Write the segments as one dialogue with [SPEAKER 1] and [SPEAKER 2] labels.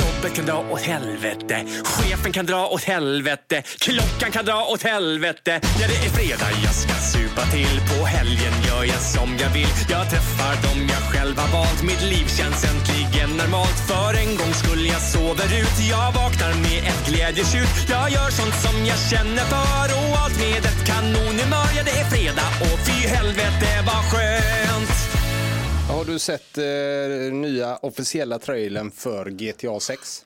[SPEAKER 1] Jobbet kan dra åt helvete. Chefen kan dra åt helvete. Klockan kan dra åt helvete. Ja, det är fredag, jag ska supa till. På helgen gör jag som jag vill. Jag träffar dem jag själv har valt. Mitt liv känns äntligen normalt. För en gång skulle jag sover ut. Jag vaknar med ett glädjetjut. Jag gör sånt som jag känner för. Och allt med ett kanonhumör. Ja, det är fredag och fy helvete vad skönt.
[SPEAKER 2] Har du sett eh, nya officiella trailern för GTA 6?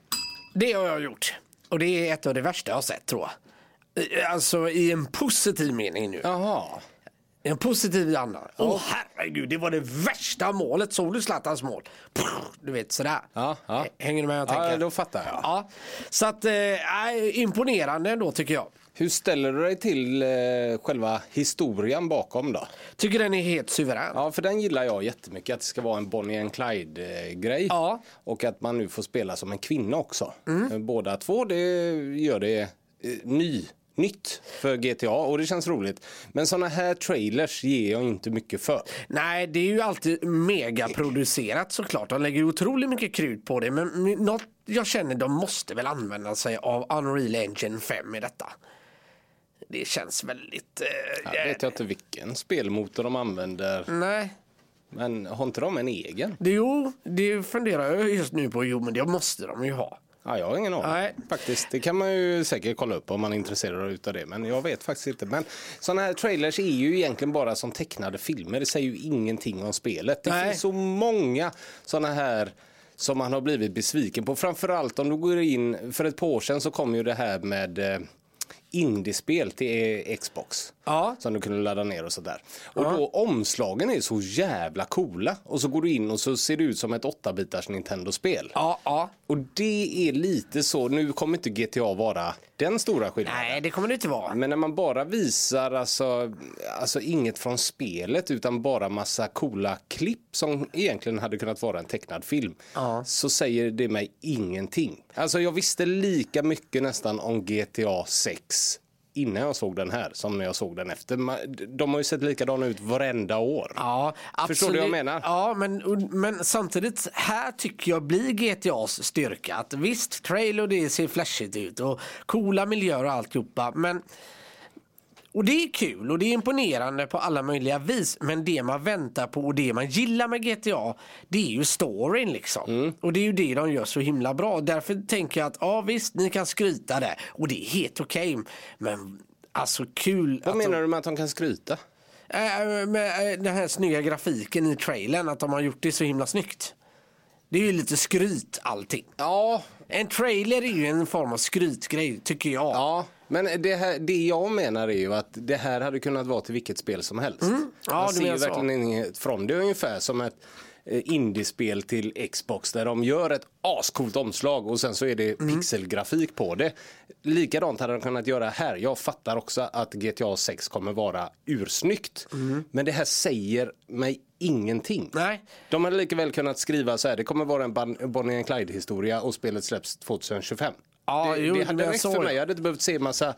[SPEAKER 3] Det har jag gjort. Och det är ett av det värsta jag har sett tror jag. I- Alltså i en positiv mening nu.
[SPEAKER 2] Jaha.
[SPEAKER 3] I en positiv anda. Åh herregud, det var det värsta målet. Såg du Zlatans mål? Pff, Du vet sådär.
[SPEAKER 2] Ja, ja.
[SPEAKER 3] Hänger du med vad jag
[SPEAKER 2] Ja,
[SPEAKER 3] tänker?
[SPEAKER 2] då fattar jag.
[SPEAKER 3] Ja. Så att, eh, nej, imponerande ändå tycker jag.
[SPEAKER 2] Hur ställer du dig till eh, själva historien bakom då?
[SPEAKER 3] Tycker den är helt suverän.
[SPEAKER 2] Ja, för den gillar jag jättemycket. Att det ska vara en Bonnie and Clyde-grej.
[SPEAKER 3] Ja.
[SPEAKER 2] Och att man nu får spela som en kvinna också. Eh, Båda två, det gör det eh, ny, nytt för GTA och det känns roligt. Men sådana här trailers ger jag inte mycket för.
[SPEAKER 3] Nej, det är ju alltid megaproducerat såklart. De lägger ju otroligt mycket krut på det. Men något jag känner, de måste väl använda sig av Unreal Engine 5 i detta. Det känns väldigt... Eh,
[SPEAKER 2] Jag vet jag inte vilken spelmotor de använder.
[SPEAKER 3] Nej.
[SPEAKER 2] Men har inte de en egen?
[SPEAKER 3] Det, jo, det funderar jag just nu på. Jo, men det måste de ju ha.
[SPEAKER 2] Ja, jag har ingen aning
[SPEAKER 3] Nej.
[SPEAKER 2] faktiskt. Det kan man ju säkert kolla upp om man är intresserad utav det. Men jag vet faktiskt inte. Men sådana här trailers är ju egentligen bara som tecknade filmer. Det säger ju ingenting om spelet. Det
[SPEAKER 3] Nej.
[SPEAKER 2] finns så många sådana här som man har blivit besviken på. Framförallt om du går in, för ett par år sedan så kom ju det här med eh, indiespel till eh, Xbox.
[SPEAKER 3] Ja.
[SPEAKER 2] Som du kunde ladda ner och sådär. Och då omslagen är så jävla coola. Och så går du in och så ser det ut som ett 8-bitars Nintendo-spel.
[SPEAKER 3] Ja, ja.
[SPEAKER 2] Och det är lite så, nu kommer inte GTA vara den stora skillnaden.
[SPEAKER 3] Nej, det kommer det inte vara.
[SPEAKER 2] Men när man bara visar alltså, alltså inget från spelet utan bara massa coola klipp som egentligen hade kunnat vara en tecknad film. Så säger det mig ingenting. Alltså jag visste lika mycket nästan om GTA 6 innan jag såg den här som när jag såg den efter. Ma- De har ju sett likadana ut varenda år.
[SPEAKER 3] Ja, absolut.
[SPEAKER 2] Förstår du vad jag menar?
[SPEAKER 3] Ja, men, men samtidigt här tycker jag blir GTAs styrka. Att visst, trail och det ser flashigt ut och coola miljöer och alltihopa. Men, och det är kul och det är imponerande på alla möjliga vis. Men det man väntar på och det man gillar med GTA, det är ju storyn liksom.
[SPEAKER 2] Mm.
[SPEAKER 3] Och det är ju det de gör så himla bra. Därför tänker jag att ja visst, ni kan skryta det och det är helt okej. Men alltså kul
[SPEAKER 2] Vad
[SPEAKER 3] att de-
[SPEAKER 2] menar du med att de kan skryta?
[SPEAKER 3] Eh, Med eh, den här snygga grafiken i trailern, att de har gjort det så himla snyggt. Det är ju lite skryt allting.
[SPEAKER 2] Ja,
[SPEAKER 3] En trailer är ju en form av skrytgrej, tycker jag.
[SPEAKER 2] Ja, men det, här, det jag menar är ju att det här hade kunnat vara till vilket spel som helst.
[SPEAKER 3] Mm. Ja,
[SPEAKER 2] Man
[SPEAKER 3] du
[SPEAKER 2] ser
[SPEAKER 3] menar
[SPEAKER 2] ju
[SPEAKER 3] så.
[SPEAKER 2] verkligen inget från det. är ungefär som ett eh, indiespel till Xbox där de gör ett ascoolt omslag och sen så är det
[SPEAKER 3] Mm.
[SPEAKER 2] pixelgrafik på det. Likadant hade de kunnat göra här. Jag fattar också att GTA 6 kommer vara ursnyggt. Men det här säger mig ingenting.
[SPEAKER 3] Mm. Nej.
[SPEAKER 2] De hade lika väl kunnat skriva så här, det kommer vara en Ban- Bonnie and Clyde-historia och spelet släpps 2025.
[SPEAKER 3] Ja,
[SPEAKER 2] det,
[SPEAKER 3] jo,
[SPEAKER 2] det
[SPEAKER 3] du
[SPEAKER 2] hade
[SPEAKER 3] menar
[SPEAKER 2] räckt
[SPEAKER 3] så,
[SPEAKER 2] för
[SPEAKER 3] ja.
[SPEAKER 2] mig. Jag hade inte behövt se massa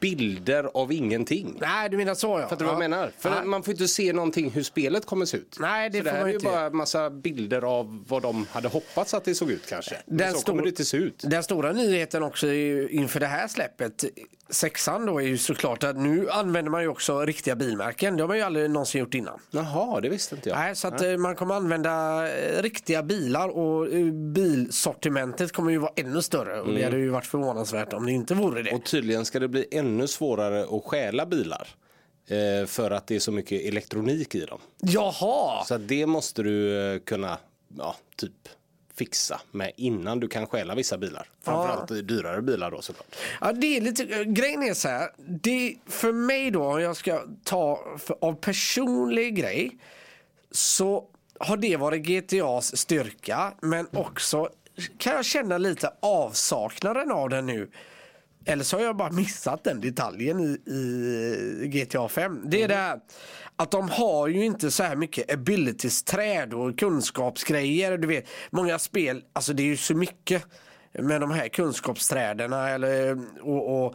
[SPEAKER 2] bilder av ingenting.
[SPEAKER 3] Nej, du menar så ja.
[SPEAKER 2] Fattar du vad jag
[SPEAKER 3] Ja.
[SPEAKER 2] menar? För
[SPEAKER 3] Nej.
[SPEAKER 2] man får inte se någonting hur spelet kommer se ut.
[SPEAKER 3] Nej, det
[SPEAKER 2] så det
[SPEAKER 3] får
[SPEAKER 2] här
[SPEAKER 3] man
[SPEAKER 2] är ju
[SPEAKER 3] inte
[SPEAKER 2] bara massa bilder av vad de hade hoppats att det såg ut kanske. Men
[SPEAKER 3] Den
[SPEAKER 2] så
[SPEAKER 3] stor-
[SPEAKER 2] kommer det inte se ut.
[SPEAKER 3] Den stora nyheten också är ju inför det här släppet, sexan då, är ju såklart att nu använder man ju också riktiga bilmärken. Det har man ju aldrig någonsin gjort innan.
[SPEAKER 2] Jaha, det visste inte jag.
[SPEAKER 3] Nej, så att eh, man kommer använda eh, riktiga bilar och eh, bilsortimentet kommer ju vara ännu större. Och
[SPEAKER 2] Mm.
[SPEAKER 3] det hade ju varit förvånansvärt om det inte vore det.
[SPEAKER 2] Och tydligen ska det bli ännu svårare att stjäla bilar. Eh, för att det är så mycket elektronik i dem.
[SPEAKER 3] Jaha!
[SPEAKER 2] Så att det måste du eh, kunna ja, typ fixa med innan du kan stjäla vissa bilar. Framförallt dyrare bilar då såklart.
[SPEAKER 3] Ja, det är lite, eh, grejen är så här. Det, för mig då, om jag ska ta för, av personlig grej. Så har det varit GTAs styrka. Men också kan jag känna lite avsaknaden av den nu. Eller så har jag bara missat den detaljen i, eh, i GTA 5. Det är det här att de har ju inte så här mycket abilities-träd och kunskapsgrejer. Du vet, många spel, alltså det är ju så mycket. med de här kunskapsträdena eller, och, och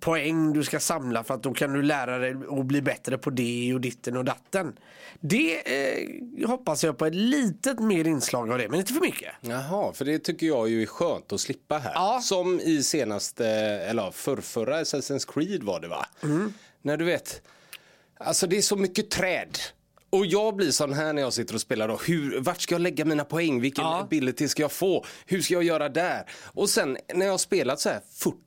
[SPEAKER 3] poäng du ska samla för att då kan du lära dig och bli bättre på det och ditten och datten. Det eh, hoppas jag på ett litet mer inslag av det, men inte för mycket.
[SPEAKER 2] Jaha, för det tycker jag ju är skönt att slippa här.
[SPEAKER 3] Ja.
[SPEAKER 2] Som i senaste, eller förrförra Assassin's Creed var det va? När du vet, alltså det är så mycket träd. Och jag blir sån här när jag sitter och spelar då. Hur, vart ska jag lägga mina poäng? Vilken
[SPEAKER 3] Ja.
[SPEAKER 2] ability ska jag få? Hur ska jag göra där? Och sen när jag har spelat så här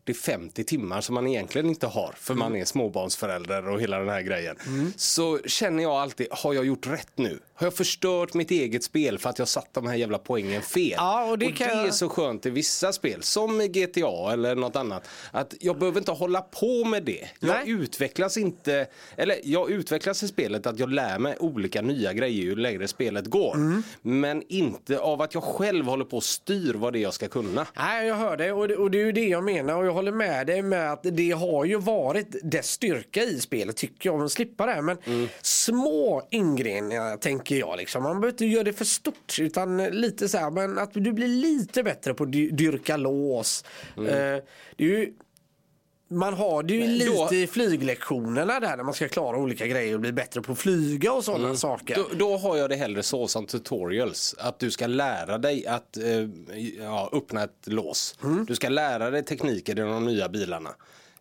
[SPEAKER 2] 40-50 timmar som man egentligen inte har för man
[SPEAKER 3] Mm.
[SPEAKER 2] är småbarnsförälder och hela den här grejen. Så känner jag alltid, har jag gjort rätt nu? Har jag förstört mitt eget spel för att jag satt de här jävla poängen fel?
[SPEAKER 3] Ja, och det kan jag-
[SPEAKER 2] är så skönt i vissa spel, som i GTA eller något annat, att jag behöver inte hålla på med det. Jag
[SPEAKER 3] Nej.
[SPEAKER 2] utvecklas inte, eller jag utvecklas i spelet att jag lär mig olika nya grejer ju längre spelet går. Men inte av att jag själv håller på och styr vad det är jag ska kunna.
[SPEAKER 3] Nej, jag hör dig och det, och det är ju det jag menar och jag håller med dig med att det har ju varit dess styrka i spelet tycker jag, om att slippa det här. Men små ingredienser tänker jag liksom. Man behöver inte göra det för stort utan lite så här, men att du blir lite bättre på att dy- dyrka lås. Eh, det är ju, man har det ju lite
[SPEAKER 2] då-
[SPEAKER 3] i flyglektionerna där när man ska klara olika grejer och bli bättre på att flyga och sådana saker.
[SPEAKER 2] Då, då har jag det hellre så som tutorials. Att du ska lära dig att eh, ja, öppna ett lås.
[SPEAKER 3] Mm.
[SPEAKER 2] Du ska lära dig tekniker i de nya bilarna.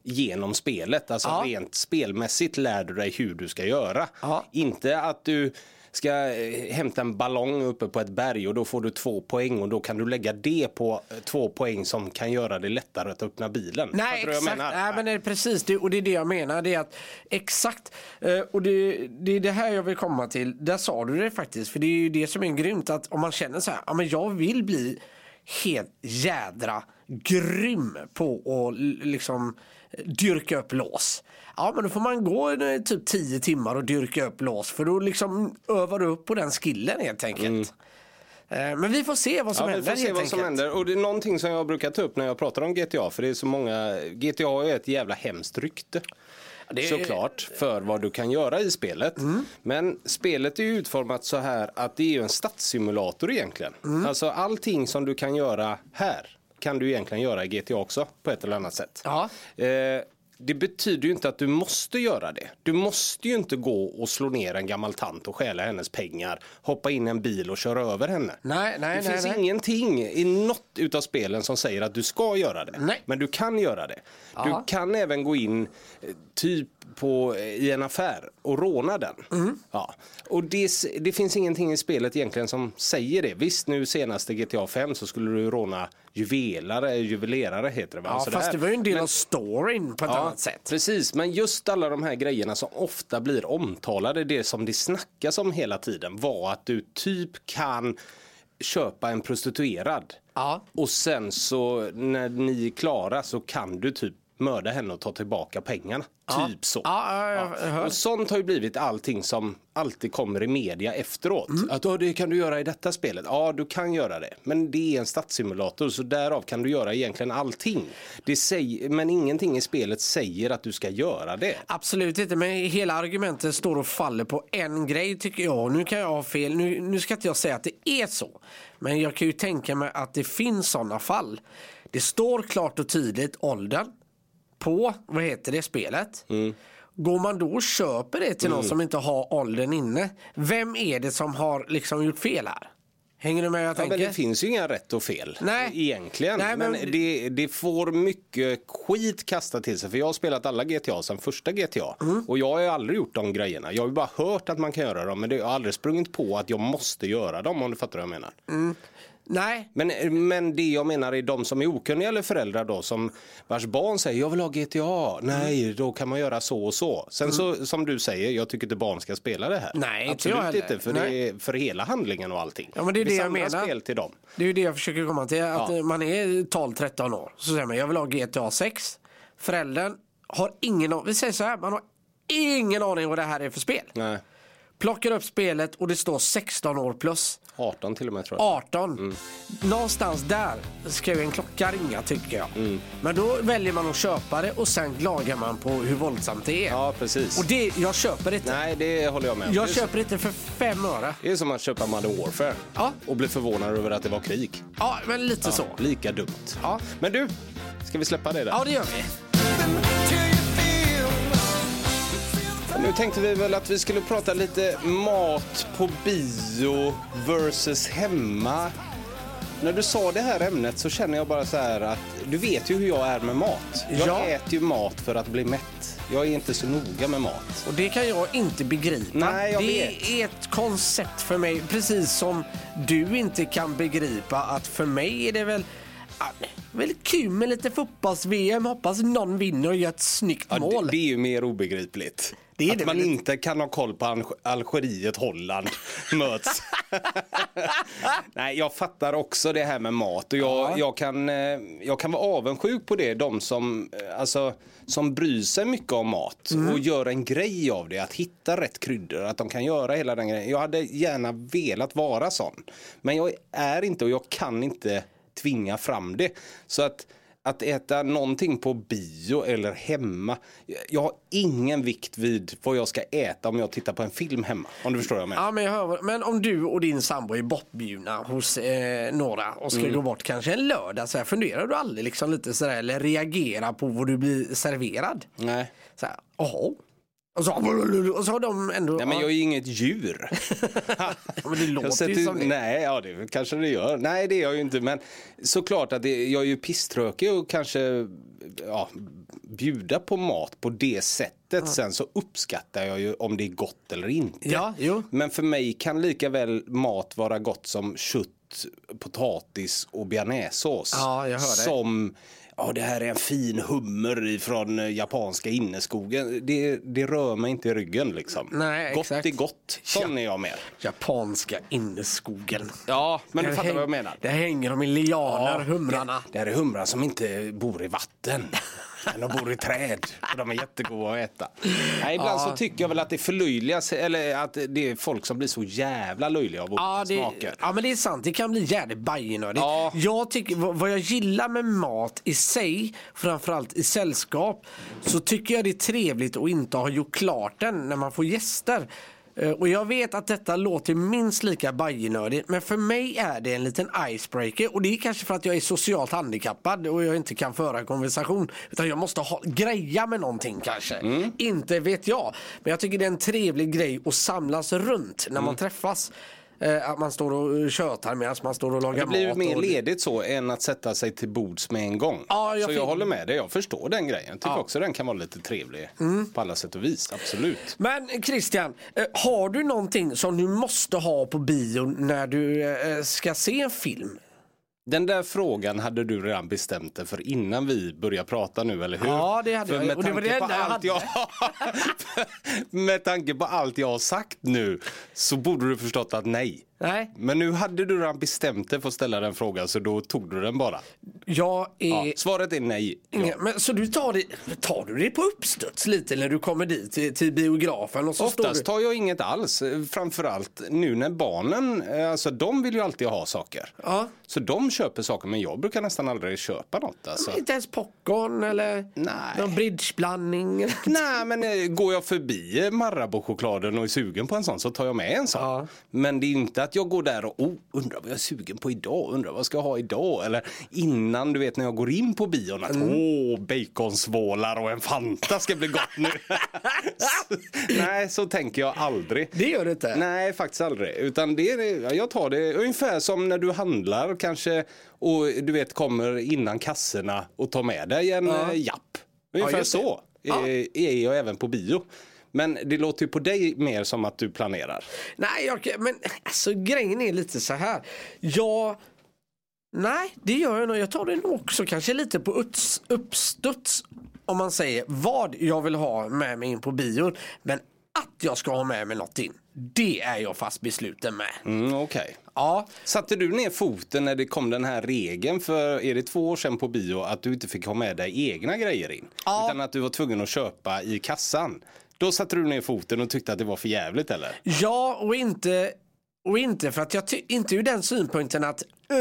[SPEAKER 2] Genom spelet. Alltså
[SPEAKER 3] Ja.
[SPEAKER 2] rent spelmässigt lär du dig hur du ska göra.
[SPEAKER 3] Ja.
[SPEAKER 2] Inte att du ska eh, hämta en ballong uppe på ett berg och då får du två poäng och då kan du lägga det på eh, två poäng som kan göra det lättare att öppna bilen.
[SPEAKER 3] Nej
[SPEAKER 2] Fattar du vad jag
[SPEAKER 3] exakt,
[SPEAKER 2] menar?
[SPEAKER 3] Nej, men det är precis det, och det är det jag menar. Det är att, exakt, Eh, och det, det är det här jag vill komma till. Där sa du det faktiskt, för det är ju det som är grymt att om man känner så här, ja men jag vill bli helt jädra grym på att l- liksom dyrka upp lås. Ja men då får man gå eh, typ 10 timmar och dyrka upp lås för då liksom övar du upp på den skillen helt enkelt. Eh, Men vi får se vad som
[SPEAKER 2] Mm. Ja, vi får
[SPEAKER 3] händer
[SPEAKER 2] se
[SPEAKER 3] helt
[SPEAKER 2] vad som
[SPEAKER 3] enkelt.
[SPEAKER 2] händer. Och det är någonting som jag brukar ta upp när jag pratar om GTA. För det är så många... GTA har ju ett jävla hemskt rykte.
[SPEAKER 3] det är- Mm.
[SPEAKER 2] Såklart, för vad du kan göra i spelet. Men spelet är ju utformat så här att det är ju en stadssimulator egentligen.
[SPEAKER 3] Mm.
[SPEAKER 2] Alltså allting som du kan göra här kan du egentligen göra i GTA också på ett eller annat sätt.
[SPEAKER 3] Ja.
[SPEAKER 2] Eh, det betyder ju inte att du måste göra det. Du måste ju inte gå och slå ner en gammal tant och stjäla hennes pengar, hoppa in i en bil och köra över henne.
[SPEAKER 3] Nej, nej,
[SPEAKER 2] det
[SPEAKER 3] nej,
[SPEAKER 2] finns
[SPEAKER 3] nej.
[SPEAKER 2] ingenting i något utav spelen som säger att du ska göra det.
[SPEAKER 3] Nej.
[SPEAKER 2] Men du kan göra det.
[SPEAKER 3] Ja.
[SPEAKER 2] Du kan även gå in eh, typ på, eh, i en affär och råna den.
[SPEAKER 3] Mm.
[SPEAKER 2] Ja. Och det, s- det finns ingenting i spelet egentligen som säger det. Visst nu senaste GTA 5 så skulle du råna juvelare, juvelerare heter Alltså, det va?
[SPEAKER 3] Ja,
[SPEAKER 2] Och så
[SPEAKER 3] fast
[SPEAKER 2] där.
[SPEAKER 3] det var ju en del av storyn på ett annat sätt.
[SPEAKER 2] Precis, men just alla de här grejerna som ofta blir omtalade, det som det snackas om hela tiden var att du typ kan köpa en prostituerad.
[SPEAKER 3] Ja.
[SPEAKER 2] Och sen så när ni är klara så kan du typ mörda henne och ta tillbaka pengarna. Typ så.
[SPEAKER 3] Ja, ja, jag hör.
[SPEAKER 2] Och sånt har ju blivit allting som alltid kommer i media efteråt.
[SPEAKER 3] Mm.
[SPEAKER 2] Att "Åh, det kan du göra i detta spelet. Ja, du kan göra det. Men det är en stadssimulator så därav kan du göra egentligen allting. Det säger, men ingenting i spelet säger att du ska göra det.
[SPEAKER 3] Absolut inte, men hela argumentet står och faller på en grej tycker jag. Nu kan jag ha fel, nu, nu ska inte jag säga att det är så. Men jag kan ju tänka mig att det finns sådana fall. Det står klart och tydligt åldern på, vad heter det, spelet. Går man då och köper det till någon som inte har åldern inne, vem är det som har liksom gjort fel här? Hänger du med vad jag
[SPEAKER 2] Ja, men
[SPEAKER 3] tänker?
[SPEAKER 2] det finns ju inga rätt och fel
[SPEAKER 3] Nej.
[SPEAKER 2] egentligen.
[SPEAKER 3] Nej, men-
[SPEAKER 2] men det, det får mycket skit kastat till sig. För jag har spelat alla GTA sedan första GTA.
[SPEAKER 3] Mm.
[SPEAKER 2] Och jag har ju aldrig gjort de grejerna. Jag har ju bara hört att man kan göra dem. Men det, jag har aldrig sprungit på att jag måste göra dem om du fattar vad jag menar.
[SPEAKER 3] Nej,
[SPEAKER 2] Men, men det jag menar är de som är okunniga eller föräldrar då som vars barn säger jag vill ha GTA.
[SPEAKER 3] Mm.
[SPEAKER 2] Nej, då kan man göra så och så. Sen så som du säger, jag tycker inte barn ska spela det här.
[SPEAKER 3] Nej, inte
[SPEAKER 2] Absolut
[SPEAKER 3] jag heller.
[SPEAKER 2] inte, för,
[SPEAKER 3] Nej.
[SPEAKER 2] det är för hela handlingen och allting.
[SPEAKER 3] Ja, men det är det jag
[SPEAKER 2] samlar
[SPEAKER 3] menar.
[SPEAKER 2] spel till dem.
[SPEAKER 3] Det är ju det jag försöker komma till. Att
[SPEAKER 2] Ja.
[SPEAKER 3] eh, man är 12-13 år. Så säger man, jag vill ha GTA 6. Föräldern har ingen aning. Vi säger så här, man har ingen aning vad det här är för spel.
[SPEAKER 2] Nej.
[SPEAKER 3] Plockar upp spelet och det står 16 år plus.
[SPEAKER 2] 18 till och med tror jag.
[SPEAKER 3] 18.
[SPEAKER 2] Mm.
[SPEAKER 3] Någonstans där ska ju en klocka ringa tycker jag.
[SPEAKER 2] Mm.
[SPEAKER 3] Men då väljer man att köpa det och sen klagar man på hur våldsamt det är.
[SPEAKER 2] Ja, precis.
[SPEAKER 3] Och det, jag köper inte.
[SPEAKER 2] Nej, det håller jag med om.
[SPEAKER 3] Jag
[SPEAKER 2] Det är-
[SPEAKER 3] köper inte för fem öre.
[SPEAKER 2] Det är som att köpa Modern Warfare
[SPEAKER 3] Ja.
[SPEAKER 2] och bli förvånad över att det var krig.
[SPEAKER 3] Ja, men lite så.
[SPEAKER 2] Lika dumt.
[SPEAKER 3] Ja.
[SPEAKER 2] Men du, ska vi släppa det där?
[SPEAKER 3] Ja, det gör vi.
[SPEAKER 2] Nu tänkte vi väl att vi skulle prata lite mat på bio versus hemma. När du sa det här ämnet så känner jag bara så här att du vet ju hur jag är med mat. Jag
[SPEAKER 3] Ja.
[SPEAKER 2] äter ju mat för att bli mätt. Jag är inte så noga med mat.
[SPEAKER 3] Och det kan jag inte begripa.
[SPEAKER 2] Nej, jag
[SPEAKER 3] det
[SPEAKER 2] vet.
[SPEAKER 3] är ett koncept för mig, precis som du inte kan begripa att för mig är det väl ja, väl kul med lite fotbolls-VM, hoppas någon vinner och gör ett snyggt
[SPEAKER 2] Ja,
[SPEAKER 3] mål.
[SPEAKER 2] Det, det är ju mer obegripligt.
[SPEAKER 3] Det är
[SPEAKER 2] att
[SPEAKER 3] det
[SPEAKER 2] man
[SPEAKER 3] väl inte.
[SPEAKER 2] inte kan ha koll på Alg- Algeriet, Holland möts. Nej, jag fattar också det här med mat och jag,
[SPEAKER 3] Ja.
[SPEAKER 2] jag, kan, eh, jag kan vara avundsjuk på det. De som, eh, alltså, som bryr sig mycket om mat och gör en grej av det. Att hitta rätt kryddor, att de kan göra hela den grejen. Jag hade gärna velat vara sån. Men jag är inte och jag kan inte tvinga fram det. Så att att äta någonting på bio eller hemma. Jag har ingen vikt vid vad jag ska äta om jag tittar på en film hemma. Om du förstår vad jag menar.
[SPEAKER 3] Ja, men, jag hör, vad- men om du och din sambo är bortbjudna hos eh, några och
[SPEAKER 2] Mm.
[SPEAKER 3] ska gå bort kanske en lördag, så här, funderar du aldrig liksom lite sådär eller reagerar på vad du blir serverad?
[SPEAKER 2] Nej.
[SPEAKER 3] Så här, jaha. Och så, och så har de ändå...
[SPEAKER 2] Nej, men jag är ju inget djur.
[SPEAKER 3] men det låter
[SPEAKER 2] jag sätter
[SPEAKER 3] ju som det.
[SPEAKER 2] Nej, ja, det kanske det gör. Nej, det är jag ju inte. Men såklart att det, jag är ju pisströkig och kanske ja, bjuda på mat på det sättet. Sen så uppskattar jag ju om det är gott eller inte.
[SPEAKER 3] Ja, jo.
[SPEAKER 2] Men för mig kan lika väl mat vara gott som kött, potatis och bearnaisesås.
[SPEAKER 3] Ja, jag hör dig.
[SPEAKER 2] Som, ja det här är en fin hummer ifrån eh, japanska inneskogen. Det, det rör mig inte i ryggen liksom.
[SPEAKER 3] Nej,
[SPEAKER 2] gott
[SPEAKER 3] exakt.
[SPEAKER 2] är gott, sån är jag med.
[SPEAKER 3] Japanska inneskogen.
[SPEAKER 2] Ja, men du
[SPEAKER 3] Där
[SPEAKER 2] fattar
[SPEAKER 3] häng-
[SPEAKER 2] vad jag menar.
[SPEAKER 3] Där hänger de i lianer,
[SPEAKER 2] Ja.
[SPEAKER 3] humrarna.
[SPEAKER 2] Det här är humrar som inte bor i vatten. Men de bor i träd och de är jättegoda att äta. Nej, ibland så tycker jag väl att det förlöjligas, eller att det är folk som blir så jävla löjliga av olika
[SPEAKER 3] Ja, det,
[SPEAKER 2] smaker.
[SPEAKER 3] ja men det är sant, det kan bli jävligt bajenördigt.
[SPEAKER 2] Ja.
[SPEAKER 3] Jag tycker, vad vad jag gillar med mat i sig, framförallt i sällskap, så tycker jag det är trevligt att inte ha gjort klart den när man får gäster. Eh, Och jag vet att detta låter minst lika bajenördigt men för mig är det en liten icebreaker och det är kanske för att jag är socialt handikappad och jag inte kan föra en konversation utan jag måste ha, greja med någonting kanske.
[SPEAKER 2] Mm.
[SPEAKER 3] Inte vet jag. Men jag tycker det är en trevlig grej att samlas runt när
[SPEAKER 2] Mm.
[SPEAKER 3] man träffas. Eh, att man står och tjötar medan man står och lagar
[SPEAKER 2] Det blir ju
[SPEAKER 3] mat.
[SPEAKER 2] mer
[SPEAKER 3] och...
[SPEAKER 2] ledigt så än att sätta sig till bords med en gång.
[SPEAKER 3] Ja, jag
[SPEAKER 2] så jag
[SPEAKER 3] fin-
[SPEAKER 2] håller med dig, jag förstår den grejen. Jag tycker också den kan vara lite trevlig på alla sätt och vis, absolut.
[SPEAKER 3] Men Christian, eh, har du någonting som du måste ha på bio när du eh, ska se en film?
[SPEAKER 2] Den där frågan hade du redan bestämt dig för innan vi började prata nu, eller hur?
[SPEAKER 3] Ja, det hade
[SPEAKER 2] För
[SPEAKER 3] jag.
[SPEAKER 2] Med
[SPEAKER 3] Och det var
[SPEAKER 2] tanke
[SPEAKER 3] det
[SPEAKER 2] på
[SPEAKER 3] enda jag
[SPEAKER 2] allt
[SPEAKER 3] hade.
[SPEAKER 2] jag Med tanke på allt jag har sagt nu så borde du förstått att nej.
[SPEAKER 3] Nej,
[SPEAKER 2] Men nu hade du redan bestämt dig för att ställa den frågan så då tog du den bara.
[SPEAKER 3] jag är...
[SPEAKER 2] Ja, svaret är nej. Ja.
[SPEAKER 3] Inga, men, så du tar det, tar du det på uppstuds lite när du kommer dit till, till biografen? Och så
[SPEAKER 2] Oftast
[SPEAKER 3] står
[SPEAKER 2] tar jag inget alls. Eh, Framförallt nu när barnen, eh, alltså de vill ju alltid ha saker.
[SPEAKER 3] du, ja,
[SPEAKER 2] Så de köper saker men jag brukar nästan aldrig köpa något. Alltså.
[SPEAKER 3] inte ens popcorn eller
[SPEAKER 2] Nej.
[SPEAKER 3] någon bridgeblandning.
[SPEAKER 2] Nej men eh, går jag förbi eh, Marabou-chokladen och är sugen på en sån så tar jag med en sån.
[SPEAKER 3] Ja.
[SPEAKER 2] Men det är inte att jag går där och oh, undrar vad jag är sugen på idag, undrar vad jag ska ha idag. Eller innan du vet när jag går in på bion att åh baconsvålar och en Fanta ska bli gott nu. Så- Nej så tänker jag aldrig.
[SPEAKER 3] Det gör du inte?
[SPEAKER 2] Nej, faktiskt aldrig. Utan det är, jag tar det ungefär som när du handlar kanske och du vet kommer innan kassorna och tar med dig en
[SPEAKER 3] Ja.
[SPEAKER 2] eh, japp. Ungefär
[SPEAKER 3] Ja, just det.
[SPEAKER 2] så
[SPEAKER 3] Ja.
[SPEAKER 2] eh, är jag även på bio. Men det låter ju på dig mer som att du planerar.
[SPEAKER 3] Nej, jag, men alltså grejen är lite så här. Jag... Nej, det gör jag nog. Jag tar det nog också kanske lite på ups, uppstuds. Om man säger vad jag vill ha med mig in på bion. Men att jag ska ha med mig något in. Det är jag fast besluten med.
[SPEAKER 2] Mm, okej.
[SPEAKER 3] Ja,
[SPEAKER 2] Satte du ner foten när det kom den här regeln för är det två år sedan på bio att du inte fick ha med dig egna grejer in?
[SPEAKER 3] Ja.
[SPEAKER 2] Utan att du var tvungen att köpa i kassan. Då satte du ner foten och tyckte att det var för jävligt eller?
[SPEAKER 3] Ja, och inte, och inte för att jag ty- inte ur den synpunkten att eh,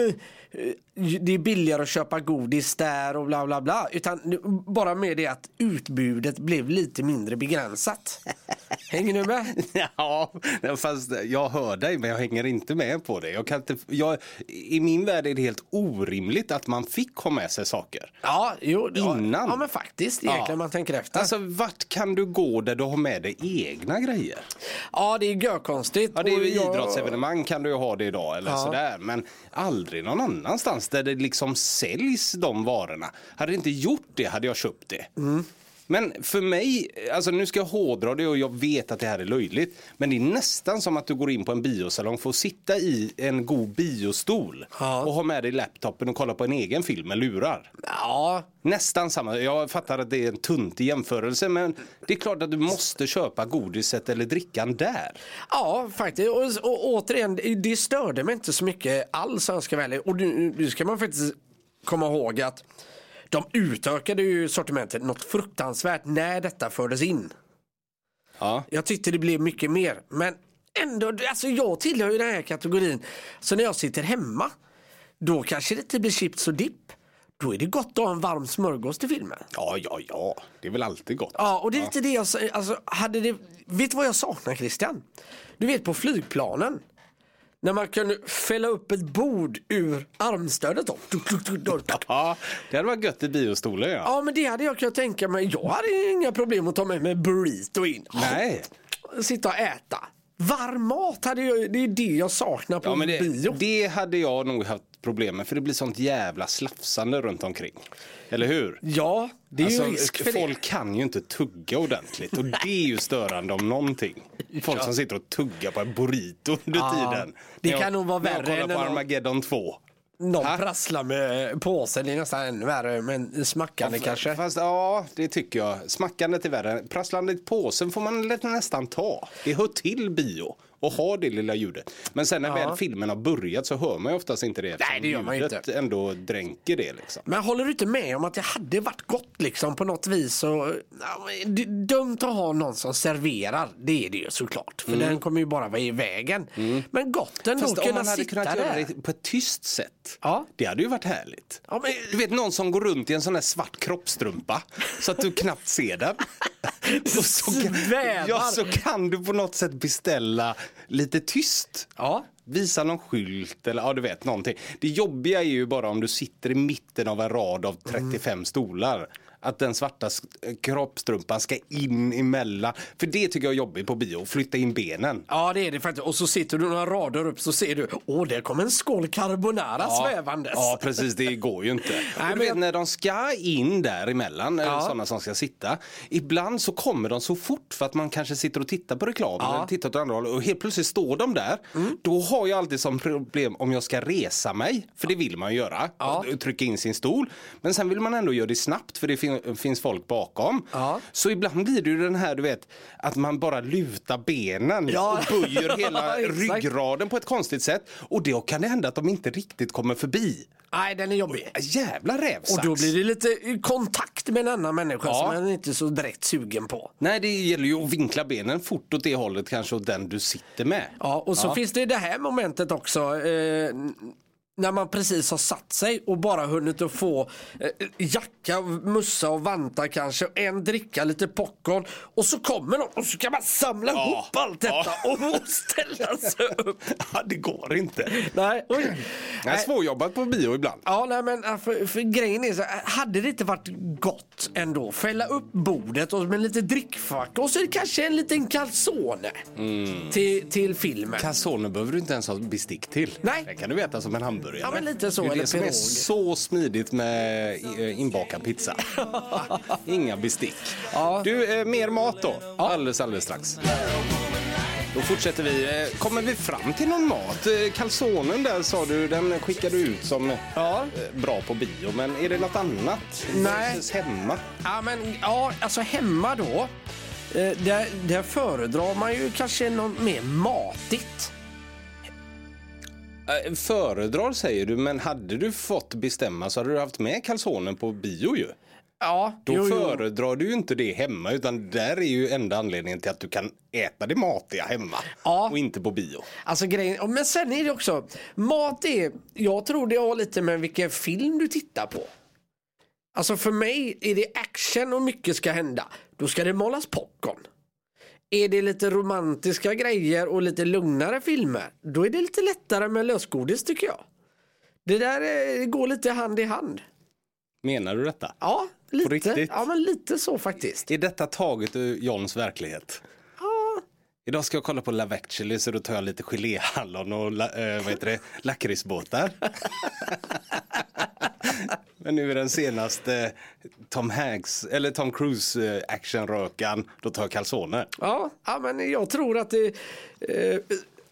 [SPEAKER 3] eh, det är billigare att köpa godis där och bla bla bla. Utan nu- bara med det att utbudet blev lite mindre begränsat. Hänger du med?
[SPEAKER 2] Ja, fast jag hör dig men jag hänger inte med på det. Jag kan inte, jag, I min värld är det helt orimligt att man fick ha med sig saker.
[SPEAKER 3] Ja, jo, ja.
[SPEAKER 2] Innan.
[SPEAKER 3] Ja, men faktiskt. Egentligen
[SPEAKER 2] Ja.
[SPEAKER 3] om man tänker efter.
[SPEAKER 2] Alltså vart kan du gå där du har med dig egna grejer?
[SPEAKER 3] ja, det är görkonstigt.
[SPEAKER 2] Ja, det är ju
[SPEAKER 3] Och jag-
[SPEAKER 2] idrottsevenemang kan du ju ha det idag eller sådär. Men aldrig någon annanstans där det liksom säljs de varorna. Hade det inte gjort det hade jag köpt det.
[SPEAKER 3] Mm.
[SPEAKER 2] Men för mig, alltså nu ska jag hårdra det och jag vet att det här är löjligt. Men det är nästan som att du går in på en biosalong för att sitta i en god biostol.
[SPEAKER 3] Ja.
[SPEAKER 2] Och ha med dig laptopen och kolla på en egen film med lurar.
[SPEAKER 3] Ja,
[SPEAKER 2] Nästan samma. Jag fattar att det är en tunt jämförelse men det är klart att du måste köpa godiset eller drickan där.
[SPEAKER 3] Ja, faktiskt. Och, och återigen, det störde mig inte så mycket alls om jag ska vara ärlig. Och nu, nu ska man faktiskt komma ihåg att de utökade ju sortimentet något fruktansvärt när detta fördes in.
[SPEAKER 2] Ja.
[SPEAKER 3] Jag tyckte det blev mycket mer. Men ändå, alltså jag tillhör ju den här kategorin. Så när jag sitter hemma, då kanske det inte blir chips och dipp. Då är det gott att ha en varm smörgås till filmen.
[SPEAKER 2] Ja, ja, ja. Det är väl alltid gott.
[SPEAKER 3] Ja, och det är lite det jag säger. Alltså, hade det... Vet du vad jag saknar Christian? Du vet på flygplanen. När man kunde fälla upp ett bord ur armstödet. Då. Tuk, tuk, tuk, tuk, tuk.
[SPEAKER 2] Ja, det hade varit gött i biostolen ja.
[SPEAKER 3] Ja men det hade jag kunnat tänka mig. Jag hade inga problem att ta med mig burrito in.
[SPEAKER 2] Nej.
[SPEAKER 3] Sitta och äta. Varm mat hade jag, det är det jag saknar på
[SPEAKER 2] Ja, men det,
[SPEAKER 3] bio.
[SPEAKER 2] det hade jag nog haft problem med för det blir sånt jävla slafsande runt omkring. Eller hur?
[SPEAKER 3] Ja, det är
[SPEAKER 2] Alltså,
[SPEAKER 3] ju risk för
[SPEAKER 2] folk kan ju inte tugga ordentligt och det är ju störande om någonting. Folk som sitter och tuggar på en burrito under
[SPEAKER 3] Ja.
[SPEAKER 2] tiden.
[SPEAKER 3] Det
[SPEAKER 2] När jag-
[SPEAKER 3] kan nog vara värre
[SPEAKER 2] När jag
[SPEAKER 3] än
[SPEAKER 2] kollar på
[SPEAKER 3] en-
[SPEAKER 2] Armageddon 2.
[SPEAKER 3] det. Någon
[SPEAKER 2] Ha?
[SPEAKER 3] prasslar med påsen, det är nästan ännu värre. Men smackande kanske.
[SPEAKER 2] Fast ja, det tycker jag. Smackandet är värre. Prasslandet i påsen får man lä- nästan ta. Det hör till bio och ha det lilla ljudet. Men sen när väl filmen har börjat så hör man ju oftast inte det. eftersom
[SPEAKER 3] Nej, det gör man ju
[SPEAKER 2] ljudet
[SPEAKER 3] inte.
[SPEAKER 2] ändå dränker det liksom.
[SPEAKER 3] Men håller du inte med om att det hade varit gott liksom på något vis? Och, ja, men det är dumt att ha någon som serverar, det är det ju såklart. För den kommer ju bara vara i vägen. Men gott ändå
[SPEAKER 2] Fast
[SPEAKER 3] att
[SPEAKER 2] om
[SPEAKER 3] kunna
[SPEAKER 2] man hade
[SPEAKER 3] sitta
[SPEAKER 2] kunnat göra
[SPEAKER 3] där.
[SPEAKER 2] det på ett tyst sätt.
[SPEAKER 3] Ja.
[SPEAKER 2] Det hade ju varit härligt.
[SPEAKER 3] Ja, men,
[SPEAKER 2] Du vet någon som går runt i en sån här svart kroppstrumpa så att du knappt ser den. Och så, kan-
[SPEAKER 3] Svävar.
[SPEAKER 2] ja, så kan du på något sätt beställa lite tyst.
[SPEAKER 3] ja.
[SPEAKER 2] Visa någon skylt eller ja, du vet någonting. Det jobbiga är ju bara om du sitter i mitten av en rad av
[SPEAKER 3] Mm.
[SPEAKER 2] 35 stolar. Att den svarta s- kroppstrumpan ska in emellan. För det tycker jag är jobbigt på bio, flytta in benen.
[SPEAKER 3] ja, det är det faktiskt. Och så sitter du några rader upp så ser du, åh, där kommer en skål carbonara svävandes.
[SPEAKER 2] Ja precis, det går ju inte.
[SPEAKER 3] men
[SPEAKER 2] och du vet
[SPEAKER 3] jag-
[SPEAKER 2] när de ska in däremellan,
[SPEAKER 3] Ja.
[SPEAKER 2] ja. sådana som ska sitta. Ibland så kommer de så fort för att man kanske sitter och tittar på reklam eller tittar åt andra hållet och helt plötsligt står de där.
[SPEAKER 3] Mm.
[SPEAKER 2] Då har jag alltid som problem om jag ska resa mig, för det vill man ju göra,
[SPEAKER 3] Ja.
[SPEAKER 2] och trycka in sin stol. Men sen vill man ändå göra det snabbt för det fin- finns folk bakom.
[SPEAKER 3] Ja.
[SPEAKER 2] Så ibland blir det ju den här du vet, att man bara lutar benen
[SPEAKER 3] Ja.
[SPEAKER 2] och böjer hela
[SPEAKER 3] Ja, exakt.
[SPEAKER 2] ryggraden på ett konstigt sätt. Och då kan det hända att de inte riktigt kommer förbi.
[SPEAKER 3] Nej, den är jobbig.
[SPEAKER 2] Jävla rävsax!
[SPEAKER 3] Och då blir det lite eh, kontakt med en annan människa
[SPEAKER 2] Ja.
[SPEAKER 3] som man inte är så direkt sugen på.
[SPEAKER 2] Nej, det gäller ju att vinkla benen fort åt det hållet kanske och den du sitter med.
[SPEAKER 3] Ja, och så finns det det här momentet också. Eh, när man precis har satt sig och bara hunnit att få eh, jacka, mussa och vantar kanske. och En dricka, lite popcorn. Och så kommer de och så kan man samla
[SPEAKER 2] Ja.
[SPEAKER 3] ihop allt detta
[SPEAKER 2] Ja.
[SPEAKER 3] och, och ställa sig upp.
[SPEAKER 2] Ja, det går inte.
[SPEAKER 3] Nej, oj.
[SPEAKER 2] Jag är svårjobbat på bio ibland.
[SPEAKER 3] Ja, nej, men äh, för, för grejen är så här, hade det inte varit gott ändå? Fälla upp bordet och med lite drickfack och så är det kanske en liten calzone till, till filmen.
[SPEAKER 2] Calzone behöver du inte ens ha bestick till.
[SPEAKER 3] Nej.
[SPEAKER 2] Den kan du äta som en hamburgare.
[SPEAKER 3] Ja, men lite så,
[SPEAKER 2] Det är
[SPEAKER 3] eller
[SPEAKER 2] det som är
[SPEAKER 3] pirog.
[SPEAKER 2] så smidigt med eh, inbakad pizza. Inga bestick.
[SPEAKER 3] Ja.
[SPEAKER 2] Du, eh, mer mat då. Alldeles, alldeles strax. Då fortsätter vi. Eh, Kommer vi fram till någon mat? Eh, Calzonen där sa du, den skickade du ut som eh,
[SPEAKER 3] Ja.
[SPEAKER 2] bra på bio. Men är det något annat?
[SPEAKER 3] Nej.
[SPEAKER 2] Versus hemma?
[SPEAKER 3] Ja, men ja, alltså hemma då. eh, Där, där föredrar man ju kanske något mer matigt.
[SPEAKER 2] Eh, Föredrar säger du, men hade du fått bestämma så hade du haft med calzonen på bio ju.
[SPEAKER 3] Ja,
[SPEAKER 2] Då
[SPEAKER 3] jo, jo.
[SPEAKER 2] föredrar du ju inte det hemma utan där är ju enda anledningen till att du kan äta det matiga hemma
[SPEAKER 3] Ja.
[SPEAKER 2] och inte på bio.
[SPEAKER 3] Alltså grejen, och men sen är det också, mat är, jag tror det har lite med vilken film du tittar på. Alltså för mig är det action och mycket ska hända, då ska det målas popcorn. Är det lite romantiska grejer och lite lugnare filmer, då är det lite lättare med lösgodis tycker jag. Det där eh, går lite hand i hand.
[SPEAKER 2] Menar du detta?
[SPEAKER 3] Ja, lite,
[SPEAKER 2] riktigt?
[SPEAKER 3] ja, men lite så faktiskt.
[SPEAKER 2] Är detta taget ur Johns verklighet?
[SPEAKER 3] Ja,
[SPEAKER 2] Idag ska jag kolla på Love actually så då tar jag lite geléhallon och la, eh, vad heter det, lakritsbåtar. Men nu är den senaste eh, Tom Hanks, eller Tom Cruise eh, actionrökan, då tar jag calzone.
[SPEAKER 3] Ja, ja men jag tror att det... Eh,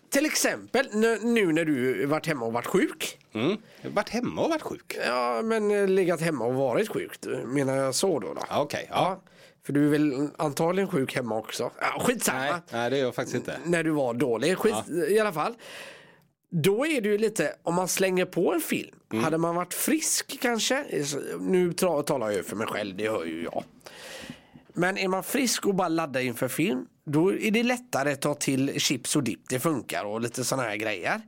[SPEAKER 3] till exempel nu, nu när du varit hemma och varit sjuk.
[SPEAKER 2] Mm. Jag har varit hemma och varit sjuk.
[SPEAKER 3] Ja, men eh, legat hemma och varit sjuk. Menar jag så då? då.
[SPEAKER 2] Ja, Okej, ja.
[SPEAKER 3] För du är väl antagligen sjuk hemma också? Ja, skitsamma.
[SPEAKER 2] Nej, nej, det är jag faktiskt inte.
[SPEAKER 3] När du var dålig, skit i alla fall. Då är det ju lite, om man slänger på en film. Hade man varit frisk kanske? Nu tra- talar jag ju för mig själv, det hör ju jag. Men är man frisk och bara laddar inför film, då är det lättare att ta till chips och dipp, det funkar och lite sådana här grejer.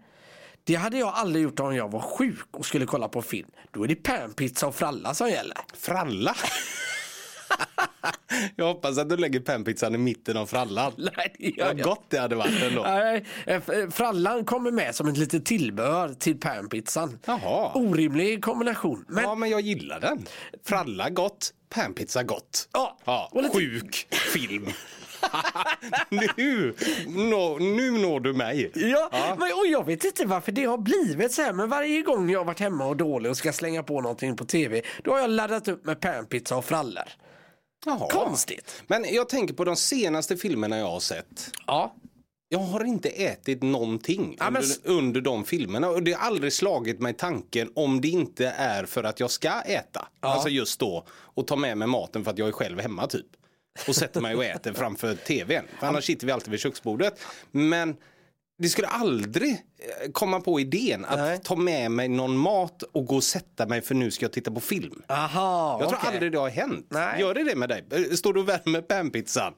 [SPEAKER 3] Det hade jag aldrig gjort om jag var sjuk och skulle kolla på film. Då är det panpizza och fralla som gäller.
[SPEAKER 2] Fralla. jag hoppas att du lägger panpizzan i mitten av frallan.
[SPEAKER 3] Nej, det gör
[SPEAKER 2] Vad
[SPEAKER 3] jag
[SPEAKER 2] gott det hade varit ändå.
[SPEAKER 3] Nej, eh, Frallan kommer med som ett litet tillbehör till panpizzan.
[SPEAKER 2] Jaha.
[SPEAKER 3] Orimlig kombination. Men,
[SPEAKER 2] Ja, men jag gillar den. Fralla gott, panpizza gott.
[SPEAKER 3] Ja,
[SPEAKER 2] ja
[SPEAKER 3] och lite-
[SPEAKER 2] sjuk film. nu, nå- nu når du mig.
[SPEAKER 3] ja, Men, och jag vet inte varför det har blivit så här. Men varje gång jag har varit hemma och dålig och ska slänga på någonting på tv. Då har jag laddat upp med panpizza och frallor.
[SPEAKER 2] Jaha.
[SPEAKER 3] Konstigt.
[SPEAKER 2] Men jag tänker på de senaste filmerna jag har sett.
[SPEAKER 3] Ja.
[SPEAKER 2] Jag har inte ätit någonting
[SPEAKER 3] Ja, men
[SPEAKER 2] under,
[SPEAKER 3] s-
[SPEAKER 2] under de filmerna och det har aldrig slagit mig tanken om det inte är för att jag ska äta. Alltså just då och ta med mig maten för att jag är själv hemma typ. Och sätter mig och äter framför tvn. För annars sitter vi alltid vid köksbordet. Men det skulle aldrig eh, komma på idén att
[SPEAKER 3] Nej.
[SPEAKER 2] ta med mig någon mat och gå och sätta mig för nu ska jag titta på film.
[SPEAKER 3] Aha,
[SPEAKER 2] Jag tror
[SPEAKER 3] okej.
[SPEAKER 2] aldrig det har hänt.
[SPEAKER 3] Nej.
[SPEAKER 2] Gör det det med dig? Eh, Står du och värmer panpizzan?